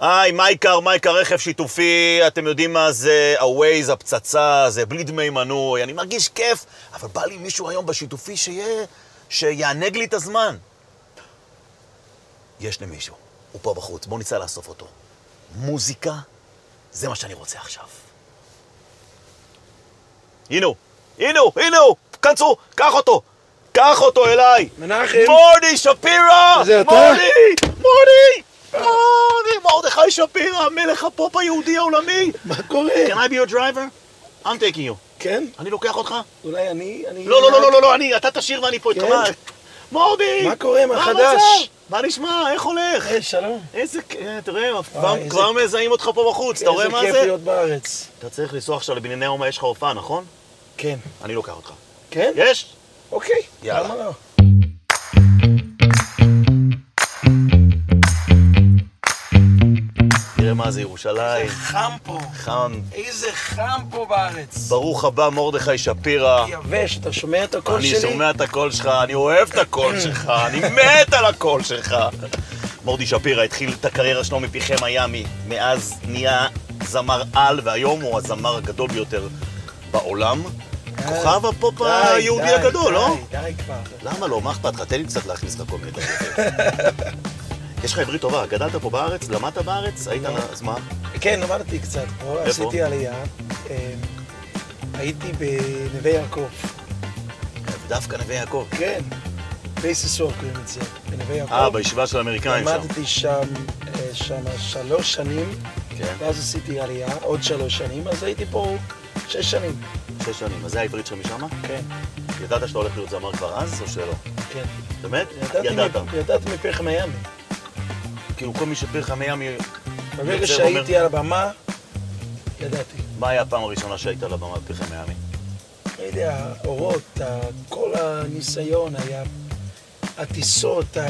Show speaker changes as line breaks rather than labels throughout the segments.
היי, מה העיקר, מה העיקר רכב שיתופי, אתם יודעים מה זה, הווייז, הפצצה, זה בלי דמי מנוי, אני מרגיש כיף, אבל בא לי מישהו היום בשיתופי שיהיה, שיענג לי את הזמן. יש לי מישהו, הוא פה בחוץ, בואו נצא לאסוף אותו. מוזיקה, זה מה שאני רוצה עכשיו. הנה הוא, הנה הוא, הנה הוא, כנסו, קח אותו, קח אותו אליי.
מנחם.
מורדי שפירא!
זה אתה?
מורדי! מורדי! מורדי! מרדכי שפירא, המלך הפופ היהודי העולמי!
מה קורה?
Can I be your driver? I'm taking you.
כן?
אני לוקח אותך?
אולי אני... אני-
לא, לא, לא, לא, לא, לא, אני, אתה תשיר ואני פה איתך.
כן.
מה? מורדי!
מה קורה? מה חדש?
המצב? מה נשמע? איך הולך?
היי, אה, שלום.
איזה... כ- אה, תראה, כבר-
איזה-
כבר מזהים אותך פה בחוץ, אתה רואה מה
איזה כיף
זה?
להיות בארץ.
אתה צריך לנסוע עכשיו לבנייני האומה, יש לך הופעה, נכון?
כן.
אני לוקח אותך.
כן?
יש?
אוקיי.
יאללה.
למה לא?
תראה מה זה ירושלים,
חם פה.
חם.
איזה חם פה בארץ.
ברוך הבא, מרדכי שפירא.
יבש, אתה שומע את הקול
אני
שלי?
שומע את הקול שלך, אני אוהב את הקול שלך, אני מת על הקול שלך. מורדי שפירא התחיל את הקריירה שלו מפיחי מיאמי, מאז נהיה זמר על, והיום הוא הזמר הגדול ביותר בעולם. כוכב הפופ
די,
היהודי
די,
הגדול, לא?
די, די כבר.
למה לא? מה אכפת לך? תן לי קצת להכניס לך כל מיני דברים. יש לך עברית טובה, גדלת פה בארץ? למדת בארץ? היית... אז מה?
כן, למדתי קצת פה,
איפה?
עשיתי עלייה. אה, הייתי בנווה יעקב.
דווקא נווה יעקב.
כן. בייססור קוראים את זה, בנווה יעקב.
אה, בישיבה של האמריקאים שם.
למדתי שם, אה, שם שלוש שנים,
כן.
ואז עשיתי עלייה, עוד שלוש שנים, אז הייתי פה שש שנים.
שש שנים. אז זה העברית שלך משם?
כן,
ידעת שאתה הולך להיות זמר כבר אז, או שלא?
כן.
באמת?
ידעתי
ידעת.
מפ- ידעתי מפיך מיאמי.
כאילו כל מי שפרחה מיאמי,
ברגע
יוצר ואומר-
שהייתי על הבמה, ידעתי.
מה היה הפעם הראשונה שהיית על הבמה בפרחה מיאמי?
לא יודע, האורות, ה- כל הניסיון היה, הטיסות, ה-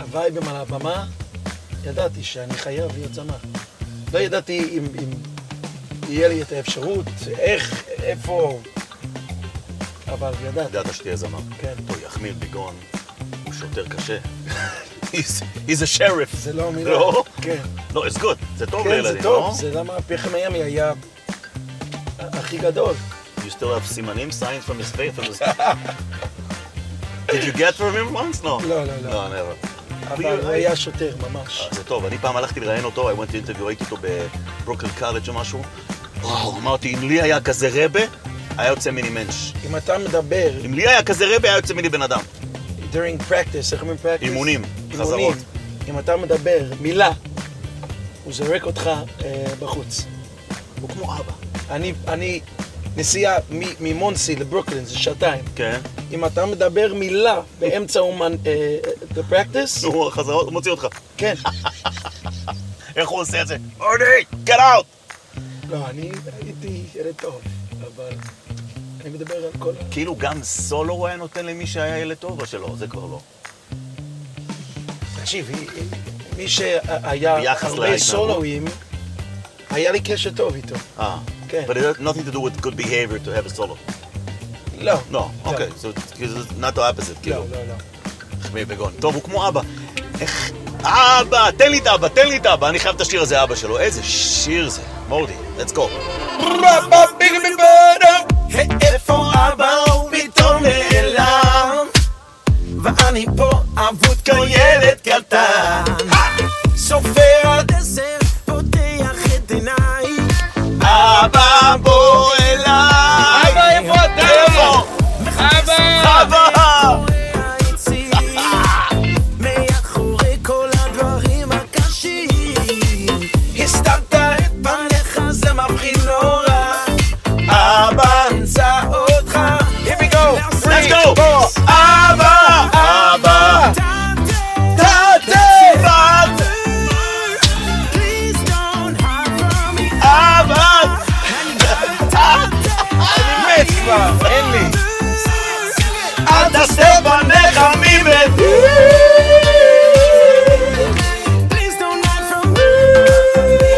הווייבים על הבמה, ידעתי שאני חייב להיות זמר. לא ידעתי אם, אם יהיה לי את האפשרות, איך, איפה, אבל ידעתי,
ידעת שתהיה זמר.
כן.
פה יחמיר ביגון, הוא שוטר קשה. He's- He's a sheriff.
זה לא מילה.
לא?
כן,
לא, it's good. זה טוב
כן, זה
לילדים, לא?
טוב, זה למה פיך מיאמי היה ה- הכי גדול.
You still have סימנים, signs from his face. from his- Did you get from him once? No.
לא, לא, לא.
No, never.
אבל הוא היה שוטר ממש.
זה טוב, אני פעם הלכתי לראיין אותו, I went to interview, הייתי אותו בברוקר קארג' או משהו. וואו, אמרתי, אם לי היה כזה רבה, היה יוצא ממני מענץ'.
אם אתה מדבר
אם לי היה כזה רבה, היה יוצא ממני בן אדם.
during practice, איך אומרים practice?
אימונים, חזרות.
אימונים. אם אתה מדבר מילה, הוא זורק אותך אה, בחוץ.
הוא כמו אבא.
אני, אני נסיעה מ- ממונסי לברוקלין, זה שעתיים.
כן.
אם אתה מדבר מילה באמצע אומן, אה, the practice,
נו, החזרות, הוא מוציא אותך.
כן.
איך הוא עושה את זה? אודי, get out!
לא, אני הייתי ילד טוב, אבל אני מדבר על כל ה...
כאילו גם סולו הוא היה נותן למי שהיה ילד טוב או שלא? זה כבר לא.
תקשיב, היא- היא- מי שהיה
ביחס
הרבה
להתנהגות.
סולואים, היה לי קשר טוב איתו.
אה.
כן.
But it has nothing to do with good behavior to have a solo.
לא.
No, אוקיי. So it's not the opposite, כאילו.
לא, לא, לא.
החמיא בגון. טוב, הוא כמו אבא. איך... אבא, תן לי את אבא, תן לי את אבא. אני חייב את השיר הזה, אבא שלו. איזה שיר זה. מורדי, let's go.
לא.
איפה אבא הוא פתאום נעלם ואני פה אבוד כמו ילד קטן סופר עד עשר, פותח את עיניי
אבא, בוא אליי.
אבא, איפה אתה?
איפה? אבא!
היציב, מאחורי כל הדברים הקשים הסתרת את פניך זה מפחיד נורא
אבא!
אמצא אותך Here we go,
Let's go! אבא! אבא!
תעטף
אבא!
Please don't hide from me.
אבא!
מת כבר, אין לי.
אל תסתר בניך מבית!
Please don't hide from me.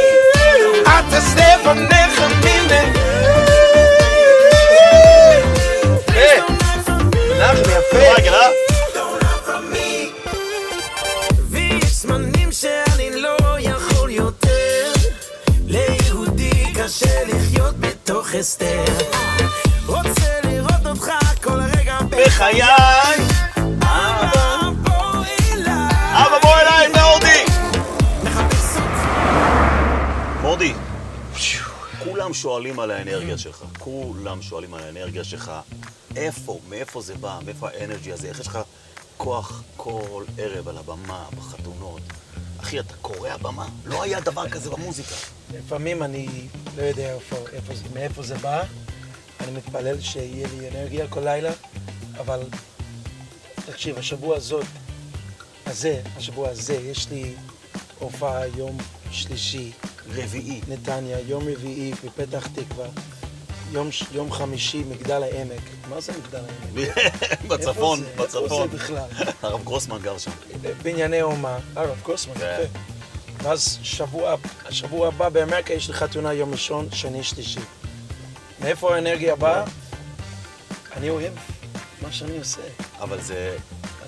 אל תסתר בניך מבית!
Please don't hide from me.
נחמי, יפה.
רגע, אה?
Don't hide from me. ויש זמנים שאני לא יכול יותר. הסתר. רוצה לראות אותך כל רגע
בחיי!
אבא בוא אליי.
אבא בוא אליי, מורדי!
מחפש אותך.
מורדי, כולם שואלים על האנרגיה שלך. כולם שואלים על האנרגיה שלך. איפה, מאיפה זה בא, מאיפה האנרגי הזה? איך יש לך כוח כל ערב על הבמה, בחתונות? אחי, אתה קורע במה? לא היה דבר כזה במוזיקה.
לפעמים אני לא יודע איפה, איפה, זה- מאיפה זה בא, אני מתפלל שיהיה לי אנרגיה כל לילה, אבל תקשיב, השבוע הזאת, הזה, השבוע הזה, יש לי הופעה יום שלישי,
רביעי.
נתניה, יום רביעי בפתח תקווה, יום, ש- יום חמישי, מגדל העמק. מה זה מגדל העמק?
בצפון,
איפה זה?
בצפון.
איפה זה בכלל?
הרב גרוסמן גר שם.
בנייני אומה, הרב קוסמן,
כן.
יפה. ואז שבוע, השבוע הבא באמריקה יש לי חתונה יום ראשון, שני, שלישי. מאיפה האנרגיה באה? אני אוהב מה שאני עושה.
אבל זה...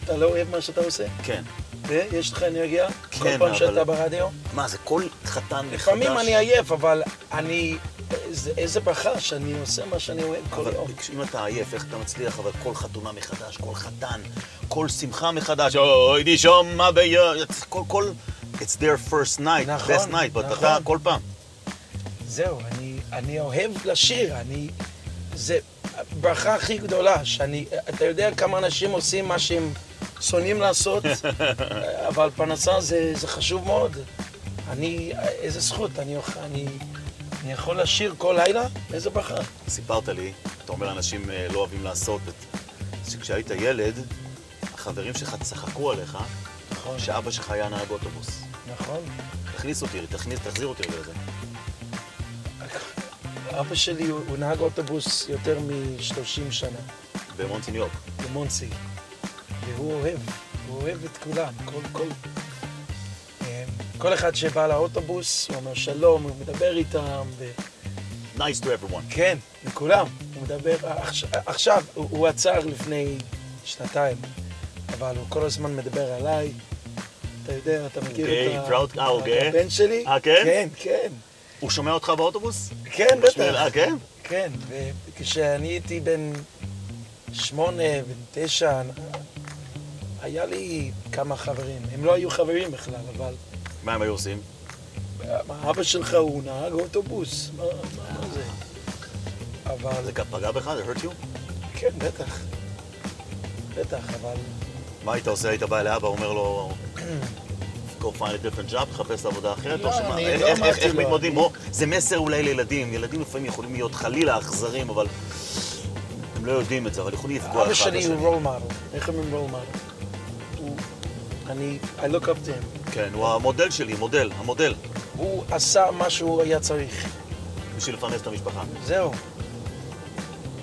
אתה לא אוהב מה שאתה עושה?
כן.
ויש לך אנרגיה? כל
כן,
פעם
אבל-
שאתה ברדיו?
מה, זה כל חתן מחדש?
לפעמים אני עייף, אבל אני... איזה- איזה ברכה שאני עושה מה שאני אוהב כל
אבל
יום.
אם אתה עייף, איך אתה מצליח, אבל כל חתונה מחדש, כל חתן, כל שמחה מחדש, אוי, דישום, מה ביה... כל, כל... It's their first night,
נכון,
best night, but אתה
נכון.
כל פעם.
זהו, אני, אני אוהב לשיר, אני... זה הברכה הכי גדולה, שאני... אתה יודע כמה אנשים עושים מה שהם שונאים לעשות, אבל פרנסה זה, זה חשוב מאוד. אני... איזה זכות, אני, אוכ- אני, אני יכול לשיר כל לילה? איזה ברכה.
סיפרת לי, אתה אומר אנשים אה, לא אוהבים לעשות, את- שכשהיית ילד, החברים שלך צחקו עליך,
נכון,
שאבא שלך היה נהג אוטובוס.
נכון.
תכניס אותי, תכניס, תחזיר אותי לזה.
אבא שלי הוא, הוא נהג אוטובוס יותר מ-30 שנה,
במונטיניוק.
במונסי, והוא אוהב, הוא אוהב את כולם, כל, כל, אה, כל אחד שבא לאוטובוס, הוא אומר שלום, הוא מדבר איתם, ו...
Nice to everyone.
כן, לכולם. הוא מדבר, עכש- עכשיו, הוא, הוא עצר לפני שנתיים, אבל הוא כל הזמן מדבר עליי. אתה יודע, אתה מכיר
גיי,
את
proud- אה, הוא גאה?
הבן שלי?
אה, כן?
כן, כן.
הוא שומע אותך באוטובוס?
כן,
שמואל,
בטח.
אה, כן?
כן, וכשאני הייתי בן שמונה, בן תשע, היה לי כמה חברים. הם לא היו חברים בכלל, אבל
מה הם היו עושים?
מה, אבא שלך הוא נהג אוטובוס, מה, מה מה זה? אבל
זה פגע בך? זה hurt you?
כן, בטח. בטח, אבל...
מה היית עושה? היית בא לאבא, אומר לו, go find a different job, תחפש עבודה אחרת,
לא,
או שמה,
אני
איך-
לא
איך-
אמרתי
איך
לו,
מתמודדים? או, זה מסר אולי לילדים, ילדים לפעמים יכולים להיות חלילה אכזרים, אבל הם לא יודעים את זה, אבל יכולים לפגוע אחד
אבא שלי
בשני.
הוא רול מודל. איך אומרים רול מודל? הוא... אני... I look up to him.
כן, הוא המודל שלי, מודל, המודל,
הוא עשה מה שהוא היה צריך.
בשביל לפרנס את המשפחה.
זהו.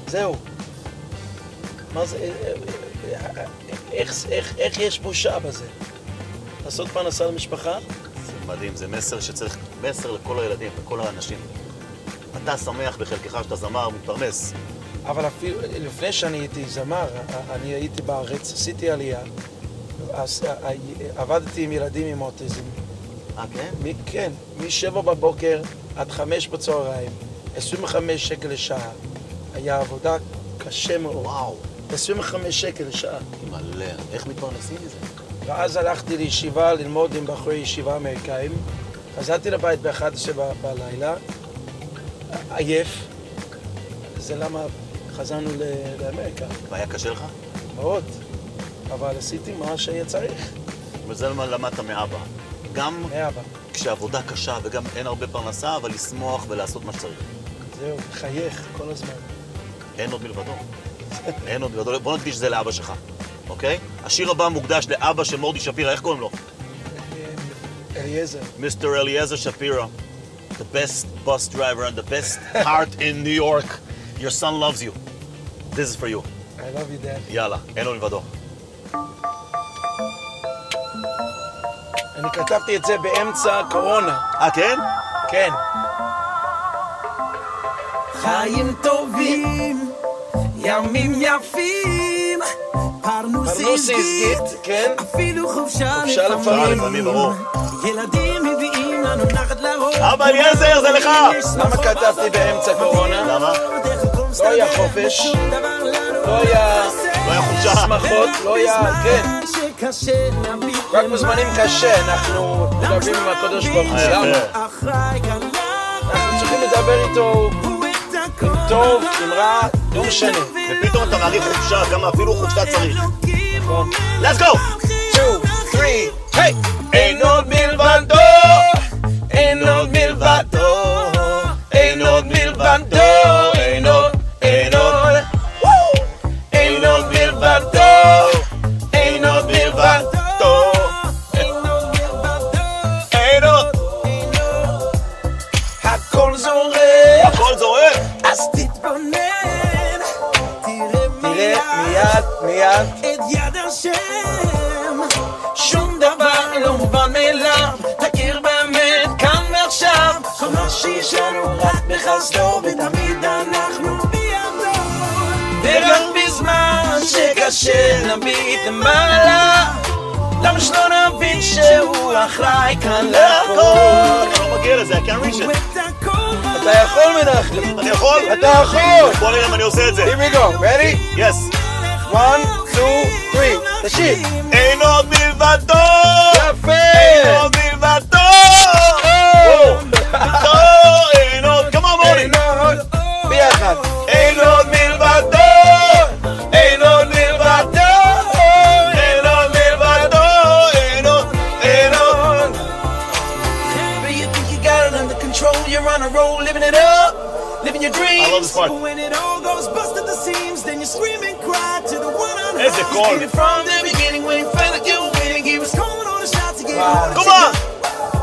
זהו. מה זה... אה, אה, איך, איך, איך יש בושה בזה? לעשות פרנסה למשפחה?
זה מדהים, זה מסר שצריך, מסר לכל הילדים, לכל האנשים. אתה שמח בחלקך שאתה זמר מתפרנס.
אבל אפילו לפני שאני הייתי זמר, אה, אני הייתי בארץ, עשיתי עלייה, אז, אה, עבדתי עם ילדים עם אוטיזם.
אה, כן?
מ- כן, משבע בבוקר עד חמש בצהריים, 25 שקל לשעה. היה עבודה קשה מאוד.
וואו,
25 שקל לשעה.
מלא. איך מתפרנסים מזה?
ואז הלכתי לישיבה ללמוד עם בחורי ישיבה אמריקאים. חזרתי לבית ב-11 ב- בלילה, עייף. זה למה חזרנו ל- לאמריקה,
והיה קשה לך?
מאוד. אבל עשיתי מה שהיה צריך,
וזה מה למדת מאבא. גם
מאבא.
כשעבודה קשה וגם אין הרבה פרנסה, אבל לשמוח ולעשות מה שצריך.
זהו, חייך כל הזמן.
אין עוד מלבדו. אין עוד מלבדו. בוא נקדיש את זה לאבא שלך, אוקיי? השיר הבא מוקדש לאבא של מורדי שפירא, איך קוראים לו?
אה, אליעזר,
מיסטר אליעזר שפירא. The best bus driver and the best heart in New York. Your son loves you. This is for you.
I love you dad.
יאללה, אין עוד מלבדו.
אני כתבתי את זה באמצע הקורונה,
אה, כן?
כן.
חיים טובים, ימים יפים, פרנוס
פרנוס עסקית, לא כן.
אפילו חופשה
חופשה לפעמים,
לפעמים, ברור.
ילדים מביאים לנו נחת לראש,
סבבה, אליעזר, זה לך!
נכון.
למה כתבתי באמצע קורונה?
למה?
לא היה חופש, לא היה
לא היה חופשה.
שמחות, לא היה... כן. רק בזמנים קשה, אנחנו מדברים עם הקדוש ברוך הוא. למה? אנחנו צריכים לדבר איתו עם טוב, עם רע, לא משנה.
ופתאום אתה מעריך חופשה, כמה אפילו חופשה צריך. Let's go!
two, three, hey! אין עוד מלבדו, אין עוד מלבדו, אין עוד מלבדו, אין עוד, אין עוד, וואו! אין עוד מלבדו, אין עוד מלבדו,
אין עוד!
Eh. הכל זורק,
הכל זורם!
אז ת- תראה מיד, מיד, שום דבר לא מובן מאליו, תכיר באמת כאן ועכשיו, כל מה שישנו רק בחסדו, ותמיד אנחנו וגם בזמן שקשה נביט מעלה, למה שלא נבין שהוא אחראי כאן לכל?
אתה לא מגיע לזה, I can't reach it.
אתה יכול מנחם,
אני יכול?
אתה יכול!
בוא נראה אם אני עושה את זה.
Here we go, ready?
יס.
one, two, three, תשאיר.
אין עוד מלבדו! אין
יפה!
עוד מלבדו!
וואו!
מלבדו! אין עוד! Come on, מוני!
אין עוד, ביחד.
אין עוד מלבדו! אין עוד מלבדו! אין עוד מלבדו! אין עוד! אין עוד!
But you think you got it under control, you're on a roll, living it up, living your dreams.
I love this part.
But when it all goes bust at the seams, then you scream and cry to the one on
That's a call.
From the beginning, when you felt like you were winning, he was calling on the shots to get
Wow.
on the
Come on!
team.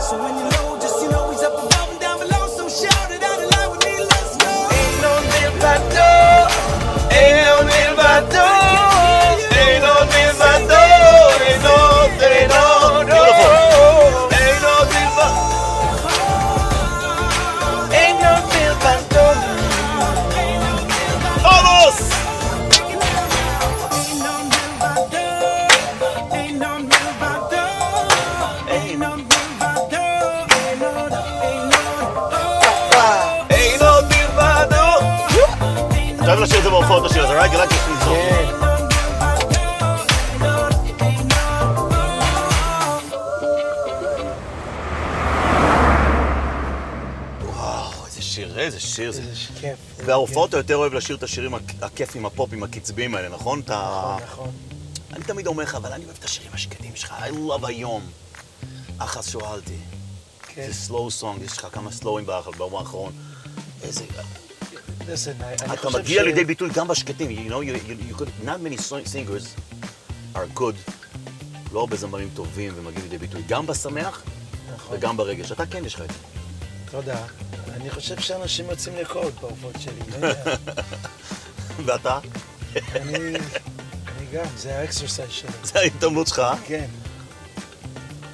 So when you know, just you know he's up above and down below, so shout it out loud with me, let's go.
אין עוד מלבדו, אין עוד מלבדו, אין עוד מלבדו, אין עוד, אין עוד, עוד.
אין עוד מלבדו!
אין עוד מלבדו.
עמוס!
אין עוד מלבדו.
אתה אוהב לשיר את זה בהופעות השיר הזה, רק רק לצמצום. וואו, איזה שיר, איזה שיר זה.
כיף.
בהופעות אתה יותר אוהב לשיר את השירים הכ- הכיפים, הפופים, הקצביים האלה, נכון? אתה...
נכון.
אני תמיד אומר לך, אבל אני אוהב את השירים השקטים שלך, I love היום. אחס שואלתי.
כן.
זה סלואו סונג, יש לך כמה סלואים באלבום האחרון. איזה...
Listen, I- אני
אתה
חושב
מגיע
ש-
לידי ביטוי גם בשקטים, you know, you- you- you could, not many song- singers are good, לא הרבה זמרים טובים ומגיעים לידי ביטוי, גם בשמח
נכון.
וגם ברגש. אתה כן יש לך את זה.
תודה. אני חושב שאנשים יוצאים לקוד בהופעות שלי, לא יודע.
ואתה,
אני אני גם, זה האקסרסייז שלי.
זה ההתאמנות שלך, אה?
כן.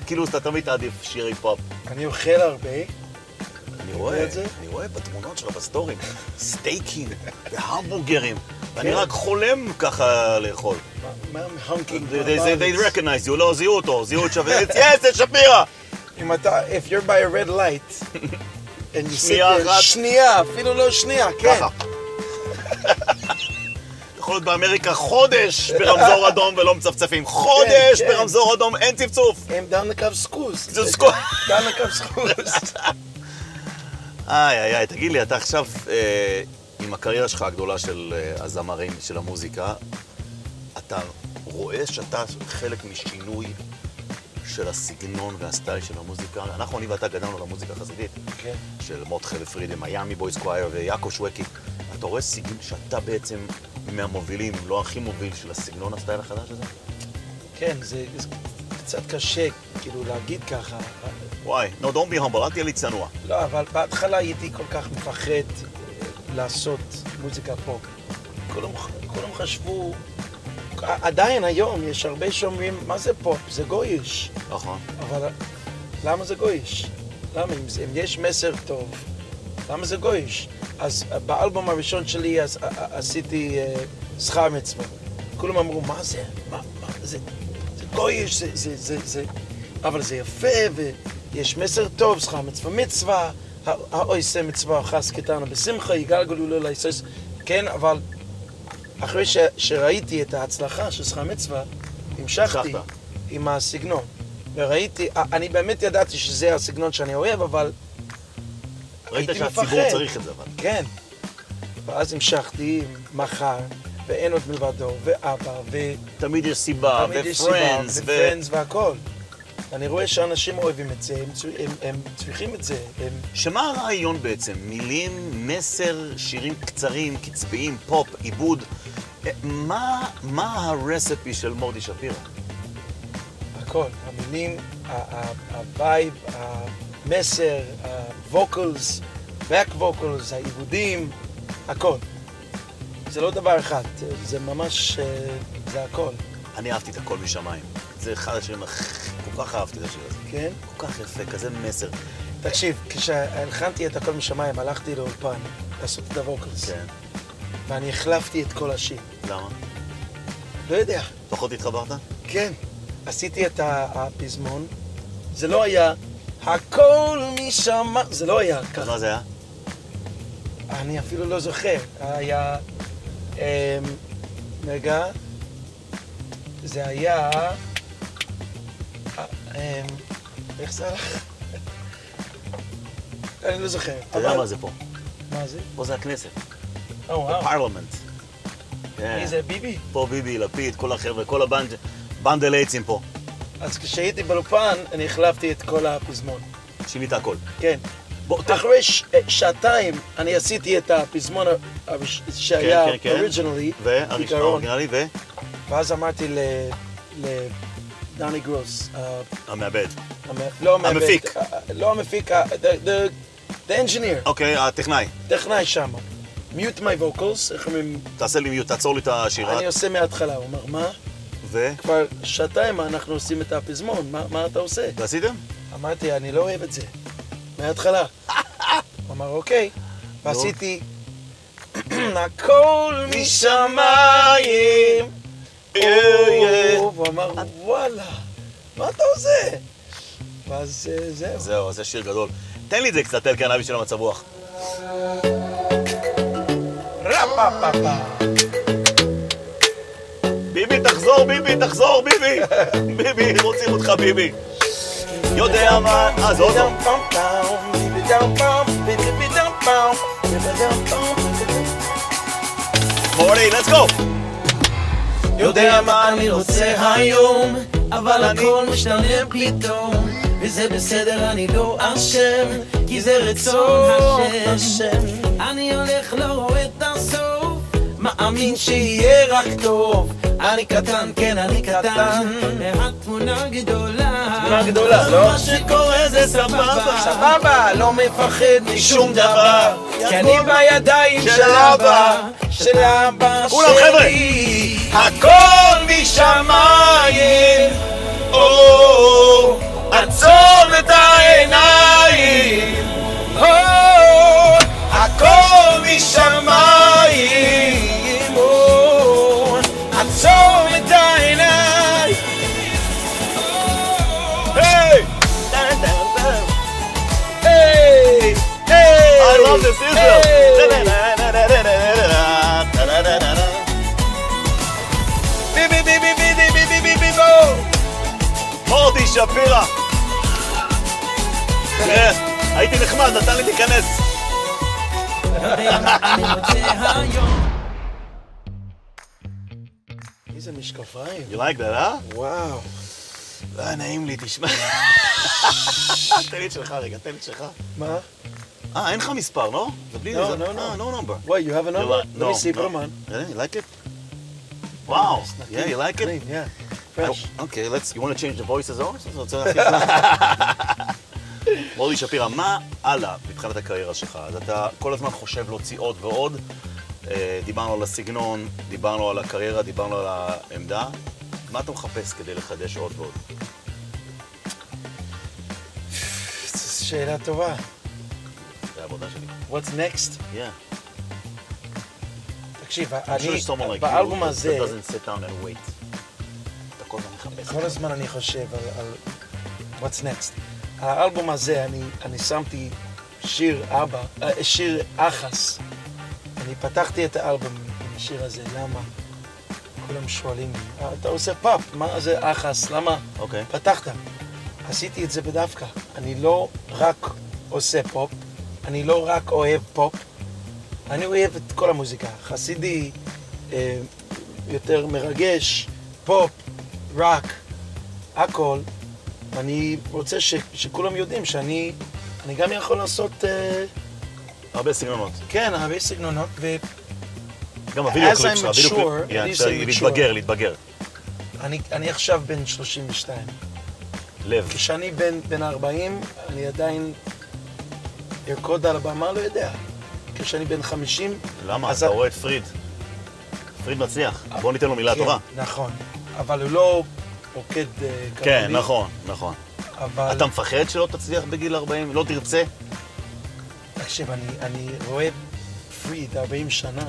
כאילו אתה תמיד תעדיף שירי פופ.
אני אוכל הרבה.
אני
יודע
רואה,
את זה?
אני רואה בתמונות שלך בסטורים, סטייקים והמבורגרים, ואני
כן.
רק חולם ככה לאכול.
מה הם honking
They- They they- they
בארץ?
recognize you, לא זיהו אותו, זיהו את שפירא, yes, זה שפירא!
אם אתה, if you're by a red light, and you sit
שנייה
there,
אחת.
שנייה, אפילו לא שנייה, כן.
ככה. יכול להיות באמריקה חודש ברמזור אדום ולא מצפצפים. חודש
כן.
ברמזור אדום, אין צפצוף.
הם דן לקו סקוס.
זה סקו-
דן לקו סקוס.
איי, איי, איי, תגיד לי, אתה עכשיו אה, עם הקריירה שלך הגדולה של אה, הזמרים, של המוזיקה, אתה רואה שאתה חלק משינוי של הסגנון והסטייל של המוזיקה? אנחנו, אני ואתה גדלנו למוזיקה החסידית,
כן.
של מות חלף פרידי, מיאמי בויז קווייר ויעקב שווקי. אתה רואה סגנון שאתה בעצם מהמובילים, אם לא הכי מוביל, של הסגנון הסטייל החדש הזה?
כן, זה זה קצת קשה, כאילו, להגיד ככה.
וואי, no, don't be humble, אל תהיה לי צנוע.
לא, אבל בהתחלה הייתי כל כך מפחד אה, לעשות מוזיקה פופ. כולם כולם חשבו... עדיין היום יש הרבה שאומרים, מה זה פופ? זה גויש.
נכון.
אבל למה זה גויש? למה? אם, זה- אם יש מסר טוב, למה זה גויש? אז אה, באלבום הראשון שלי אז, ע- ע- עשיתי אה, שכר מצווה. כולם אמרו, מה זה? מה, מה זה? זה גויש, זה, זה, זה, זה... אבל זה יפה, ויש מסר טוב, שכר מצווה מצווה, העושה מצווה חס קטנה בשמחה, יגאל גלולו לעיסוס. כן, אבל אחרי ש, שראיתי את ההצלחה של שכר מצווה, המשכתי
המשכת.
עם הסגנון. וראיתי, אה, אני באמת ידעתי שזה הסגנון שאני אוהב, אבל
ראית
הייתי
שהציבור
מפחד.
צריך את זה, אבל.
כן. ואז המשכתי עם מחר, ואין עוד מלבדו, ואבא, ותמיד
תמיד יש סיבה,
יש סיבה,
ופרנדס, אה, ו...
ופרנדס והכל. אני רואה שאנשים אוהבים את זה, הם, צו- הם, הם צריכים את זה, הם...
שמה הרעיון בעצם? מילים, מסר, שירים קצרים, קצביים, פופ, עיבוד. אה, מה, מה הרספי של מורדי שפירא?
הכל, המילים, ה- ה- הווייב, המסר, הווקלס, back vocals, העיבודים, הכל. זה לא דבר אחד, זה- זה ממש, אה, זה הכל,
אני אהבתי את הכל משמיים. זה אחד השירים הכי... כל כך אהבתי את השיר הזה.
כן?
כל כך יפה, כזה מסר.
תקשיב, כשהלחנתי את הכל משמיים, הלכתי לאולפן לעשות את הווקלס,
כן.
ואני החלפתי את כל השיר.
למה?
לא יודע,
פחות התחברת?
כן. עשיתי את ה- הפזמון, זה לא היה הכל משמיים, זה לא היה
אז
ככה.
מה זה היה?
אני אפילו לא זוכר. היה... אמ, רגע. זה היה... אמ, איך זה הלך? אני לא זוכר.
אתה יודע
אבל-
מה זה פה?
מה זה?
פה זה הכנסת.
אה, וואו.
פרלמנט. כן.
מי זה, ביבי?
פה ביבי, לפיד, כל החבר'ה, כל הבנד... בנדל אייצים פה.
אז כשהייתי באולפן, אני החלפתי את כל הפזמון.
שינית הכל.
כן.
בוא, ת...
אחרי ש- אה, שעתיים אני עשיתי את הפזמון ה- הראש- שהיה
כן, כן, כן.
אוריג'ינלי,
והראשון, האורגינלי,
ואז אמרתי ל- לדני גרוס, ה-
והמעבד.
המ- לא המעבד,
המפיק.
ה- ה- לא המפיק, ה- the- the- the engineer,
אוקיי, הטכנאי,
טכנאי שם. mute my vocals, איך אומרים,
תעשה לי מיוט, תעצור לי את השירה.
אני עושה מההתחלה, הוא אומר, מה?
ו...
כבר שעתיים אנחנו עושים את הפזמון, מה מה אתה עושה?
ועשיתם?
אמרתי, אני לא אוהב את זה, מההתחלה. הוא אמר, אוקיי, ועשיתי, הכל משמיים. והוא אמר, וואלה, מה אתה עושה? ואז אה, זהו.
זהו, זה שיר גדול. תן לי את זה קצת, אל קנאבי של המצב רוח.
רפה-פה-פה.
ביבי, תחזור, ביבי, תחזור, ביבי! ביבי, רוצים אותך, ביבי. יודע מה, אז עוד לא. פעם. מורדי, let's go!
יודע מה אני רוצה היום, אבל הכל משתנה פתאום. וזה בסדר, אני לא אשם, כי זה רצון השם. אני הולך, לא רואה את הסוף, מאמין שיהיה רק טוב. אני קטן, כן, אני קטן, והתמונה גדולה.
תמונה גדולה, לא?
מה שקורה זה סבבה.
סבבה, לא מפחד משום דבר, כי אני בידיים
של
של אבא,
אבא,
של אבא
כולם, חבר'ה.
שלי.
הכל משמיים, או, עצום את העיניים, או, הכל משמיים, או, עצום את העיניים. היי! היי! היי! I love this Israel!
בי בי בי בי בי בי בי בי בי בי בואו.
מורדי שפירא! תראה, הייתי נחמד, נתן לי להיכנס.
יודע מה אני רוצה היום.
איזה משקפיים.
You like that, אה?
וואו.
לא היה נעים לי, תשמע. תן לי את שלך רגע, תן לי את שלך.
מה?
אה, אין לך מספר, לא? זה בלי...
לא,
זה-
לא, לא.
אה, no number.
וואי, you have a
You
number?
like-
Let me
no,
see,
no.
come on.
Really? לא. אה, You like it? Wow.
נקי,
Yeah, you like it?
clean, yeah.
Oh,
Fresh.
Okay, let's... You want to change the voices also? אתה רוצה להחליף? מורדי שפירא, מה הלאה מבחינת הקריירה שלך? אז אתה כל הזמן חושב להוציא עוד ועוד. אה, דיברנו על הסגנון, דיברנו על הקריירה, דיברנו על העמדה. מה אתה מחפש כדי לחדש עוד ועוד?
זו שאלה טובה.
זה העבודה שלי.
What's next?
Yeah.
תקשיב,
I'm sure someone
אני,
like
באלבום
you
הזה,
that doesn't sit down and wait. אתה כל הזמן מחפש.
כל הזמן אני חושב על, על what's next. על האלבום הזה אני, אני שמתי שיר אבא, אה, שיר אחס. אני פתחתי את האלבום עם השיר הזה, למה? כולם שואלים, "אה, אתה עושה פאפ, מה זה אחס, למה?
אוקיי.
פתחת. עשיתי את זה בדווקא. אני לא רק עושה פופ, אני לא רק אוהב פופ, אני אוהב את כל המוזיקה. חסידי, אה, יותר מרגש, פופ, רק, הכל. אני רוצה ש, שכולם יודעים שאני אני גם יכול לעשות, אה,
הרבה סגנונות.
כן, הרבה סגנונות,
גם הווידאו
As
קליפ
I'm
שלך, הווידאו
mature,
קליפ. יא,
at least
בסדר,
I'm mature.
להתבגר, להתבגר.
ואני אני עכשיו בן 32.
לב.
כשאני בן, בן 40, אני עדיין ארקוד על הבמה, לא יודע. כשאני בן 50...
למה?
אז
אתה
ה-
רואה את פריד. פריד מצליח. בוא ניתן לו מילה
כן,
טובה.
נכון. אבל הוא לא רוקד אה, כמוני.
כן, נכון, נכון.
אבל...
אתה מפחד שלא תצליח בגיל 40? לא תרצה?
תקשיב, אני, אני רואה פריד 40 שנה.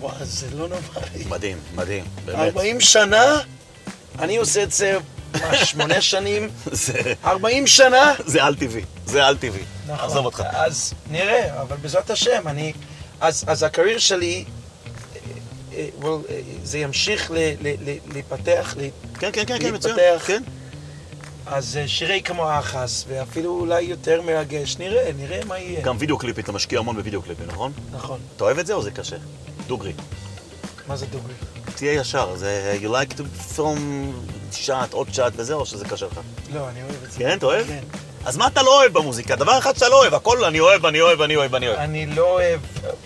וואי, זה לא נורמלי.
מדהים, מדהים, באמת.
40 שנה? אני עושה את זה, מה, שמונה שנים?
זה-
40 שנה?
זה על-טבעי, זה על-טבעי.
נכון.
עזוב אותך.
אז נראה, אבל בעזרת השם, אני... אז, אז הקרייר שלי, אה, אה, well, אה, זה ימשיך ל, ל, ל, להתפתח, ל,
כן, כן, כן, כן, מצוין.
להתפתח.
כן.
אז אה, שירי כמו האחס, ואפילו אולי יותר מרגש, נראה, נראה מה יהיה.
גם וידאו קליפים, אתה משקיע המון בוידאו קליפים, נכון?
נכון,
אתה אוהב את זה או זה קשה? דוגרי.
מה זה דוגרי?
תהיה ישר, זה you like to from שעת, עוד שעת וזה, או שזה קשה לך?
לא, אני אוהב את זה.
כן, אתה אוהב?
כן.
אז מה אתה לא אוהב במוזיקה? דבר אחד שאתה לא אוהב, הכל אני אוהב, אני אוהב, אני אוהב, אני אוהב.
אני לא אוהב,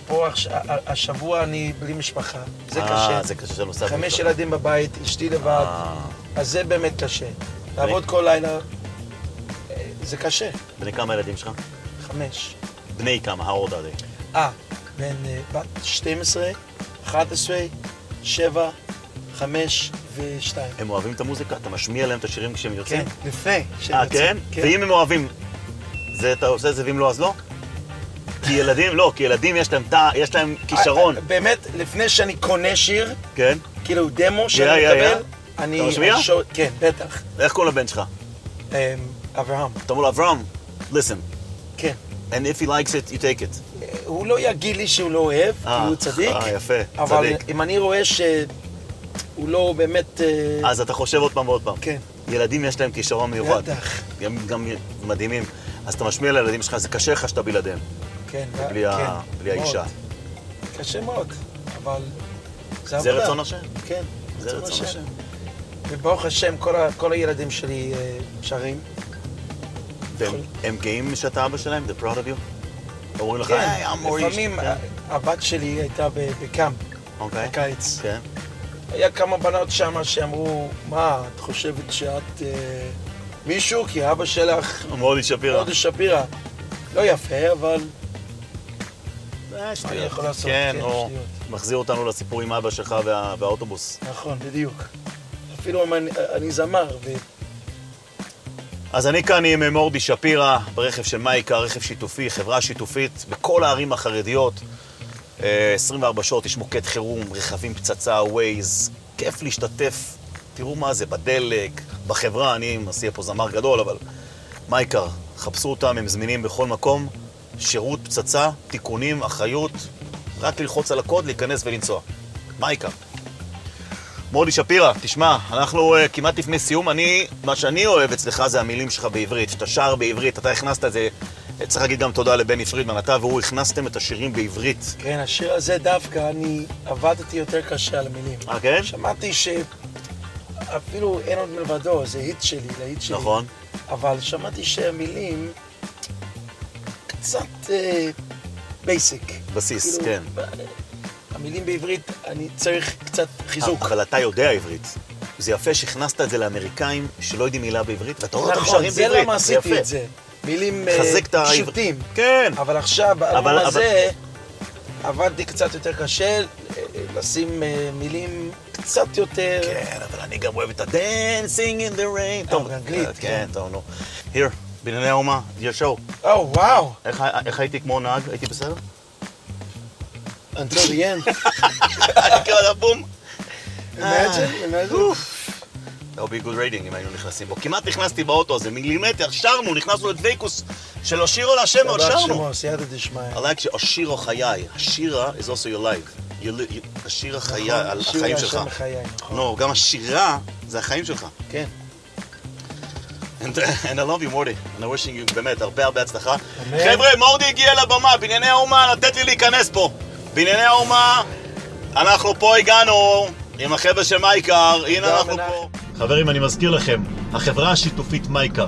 פה הש- ה- ה- השבוע אני בלי משפחה, זה
אה,
קשה.
זה קשה, זה נוסף.
חמש ילדים בבית, אשתי לבד,
אה,
אז זה באמת קשה. לעבוד כל לילה, אה, זה קשה,
בני כמה ילדים שלך?
חמש.
בני כמה, how old are they?
אה, בן אה, בת 12, 11, 7, 5 ו-2.
הם אוהבים את המוזיקה? אתה משמיע להם את השירים כשהם
כן,
יוצאים?
לפני שהם
אה, כן?
יוצאים.
ואם הם אוהבים, זה אתה עושה את זה ואם לא, אז לא? כי ילדים, לא, כי ילדים יש להם תא, יש להם כישרון,
אה, אה, באמת, לפני שאני קונה שיר,
כן?
כאילו דמו
יא,
שאני
יא, יא.
מקבל, אני...
אתה משמיע?
השו- כן, בטח.
איך קוראים לבן שלך?
אה, אברהם,
אתה אומר לו, אברהם, listen,
כן.
and if he likes it, you take it.
אה, הוא לא יגיד לי שהוא לא אוהב, כי
אה,
הוא צדיק.
אה, יפה,
אבל
צדיק.
אם אני רואה שהוא לא באמת... אה,
אז אתה חושב עוד פעם ועוד פעם.
כן.
ילדים יש להם כישרון מיוחד.
בטח.
הם גם מדהימים. אז אתה משמיע לילדים שלך, זה קשה לך שאתה בלעדיהם,
כן,
בלי, ה...
כן,
בלי האישה.
מאוד. קשה מאוד, אבל...
זה
עבודה.
רצון השם?
כן,
זה רצון השם. נכון.
וברוך השם, כל, ה, כל הילדים שלי אה, שרים.
והם הם גאים שאתה אבא שלהם? They're proud of you? אומרים לך, היי, המורי.
לפעמים
כן.
ה- הבת שלי הייתה ב- בקאמפ
אוקיי.
בקיץ.
כן.
היה כמה בנות שם שאמרו, מה, את חושבת שאת אה, מישהו? כי אבא שלך,
מורי שפירא.
הודו שפירא. לא יפה, אבל
אה, שטויות.
אני יכול לעשות,
כן,
כן,
או
שטויות.
מחזיר אותנו לסיפור עם אבא שלך וה- והאוטובוס.
נכון, בדיוק. אפילו אם אני, אני זמר, ו-
אז אני כאן עם אה, מורדי שפירא, ברכב של מייקה, רכב שיתופי, חברה שיתופית, בכל הערים החרדיות. אה, 24 שעות יש מוקד חירום, רכבים פצצה, ווייז, כיף להשתתף. תראו מה זה, בדלק, בחברה, אני מסיע פה זמר גדול, אבל מייקר, חפשו אותם, הם זמינים בכל מקום. שירות, פצצה, תיקונים, אחריות, רק ללחוץ על הקוד, להיכנס ולנסוע. מייקר. מורדי שפירא, תשמע, אנחנו uh, כמעט לפני סיום. אני, מה שאני אוהב אצלך זה המילים שלך בעברית. שאתה שר בעברית, אתה הכנסת את זה. צריך להגיד גם תודה לבני פרידמן, אתה והוא הכנסתם את השירים בעברית.
כן, השיר הזה דווקא, אני עבדתי יותר קשה על המילים.
אה, כן?
שמעתי שאפילו אין עוד מלבדו, זה היט שלי, להיט שלי.
נכון.
אבל שמעתי שהמילים קצת אה, בייסיק.
בסיס,
כאילו,
כן.
אה, המילים בעברית, אני צריך קצת חיזוק.
אבל אה, אתה יודע עברית. זה יפה שהכנסת את זה לאמריקאים שלא יודעים מילה בעברית, ואתה רואה אותם
נכון,
שרים
זה
לא בעברית.
למה עשיתי
יפה.
את זה. מילים אה,
חזק את העברית.
פשוטים.
כן.
אבל עכשיו, באלבום
אבל-
הזה, עבדתי קצת יותר קשה, אה, אה, לשים אה, מילים קצת יותר...
כן, אבל אני גם אוהב את ה-Dancing in the rain. טוב,
אה, באנגלית,
כן, טוב, נו. Here, בנייני האומה, your show.
או, וואו!
איך ה- איך הייתי כמו נהג? הייתי בסדר?
Until the end.
אני קרא לבום.
Imagine, imagine.
זה היה ביגוד לא, ריידינג אם היינו נכנסים בו. כמעט נכנסתי באוטו, זה מילימטר, שרנו, נכנסנו לדוויקוס של אושירו להשם, עוד
דבר
שרנו.
שמו, סייעתא דשמיא.
I like שאושירו חיי, השירה is also your life. You li- you- השירה
נכון,
חיי, על
שיר
החיים
להשם
שלך.
מחיי, נכון.
לא, גם השירה זה החיים שלך.
כן.
And, and I love you, מורדי. And I wishing you באמת הרבה הרבה הצלחה.
אמן.
חבר'ה, מורדי הגיע לבמה, בנייני האומה, לתת לי להיכנס פה. בנייני האומה, אנחנו פה הגענו, עם החבר'ה של מייקר, הנה
תודה,
אנחנו
מנחם.
פה. חברים, אני מזכיר לכם, החברה השיתופית מייקר,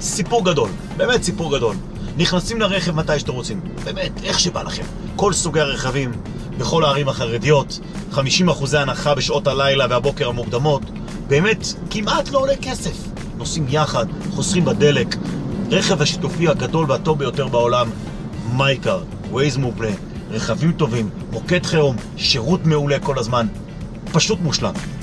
סיפור גדול, באמת סיפור גדול. נכנסים לרכב מתי שאתם רוצים, באמת, איך שבא לכם. כל סוגי הרכבים, בכל הערים החרדיות, 50% הנחה בשעות הלילה והבוקר המוקדמות, באמת, כמעט לא עולה כסף. נוסעים יחד, חוסכים בדלק, רכב השיתופי הגדול והטוב ביותר בעולם, מייקר, ווייז מובנה, רכבים טובים, מוקד חירום, שירות מעולה כל הזמן, פשוט מושלם.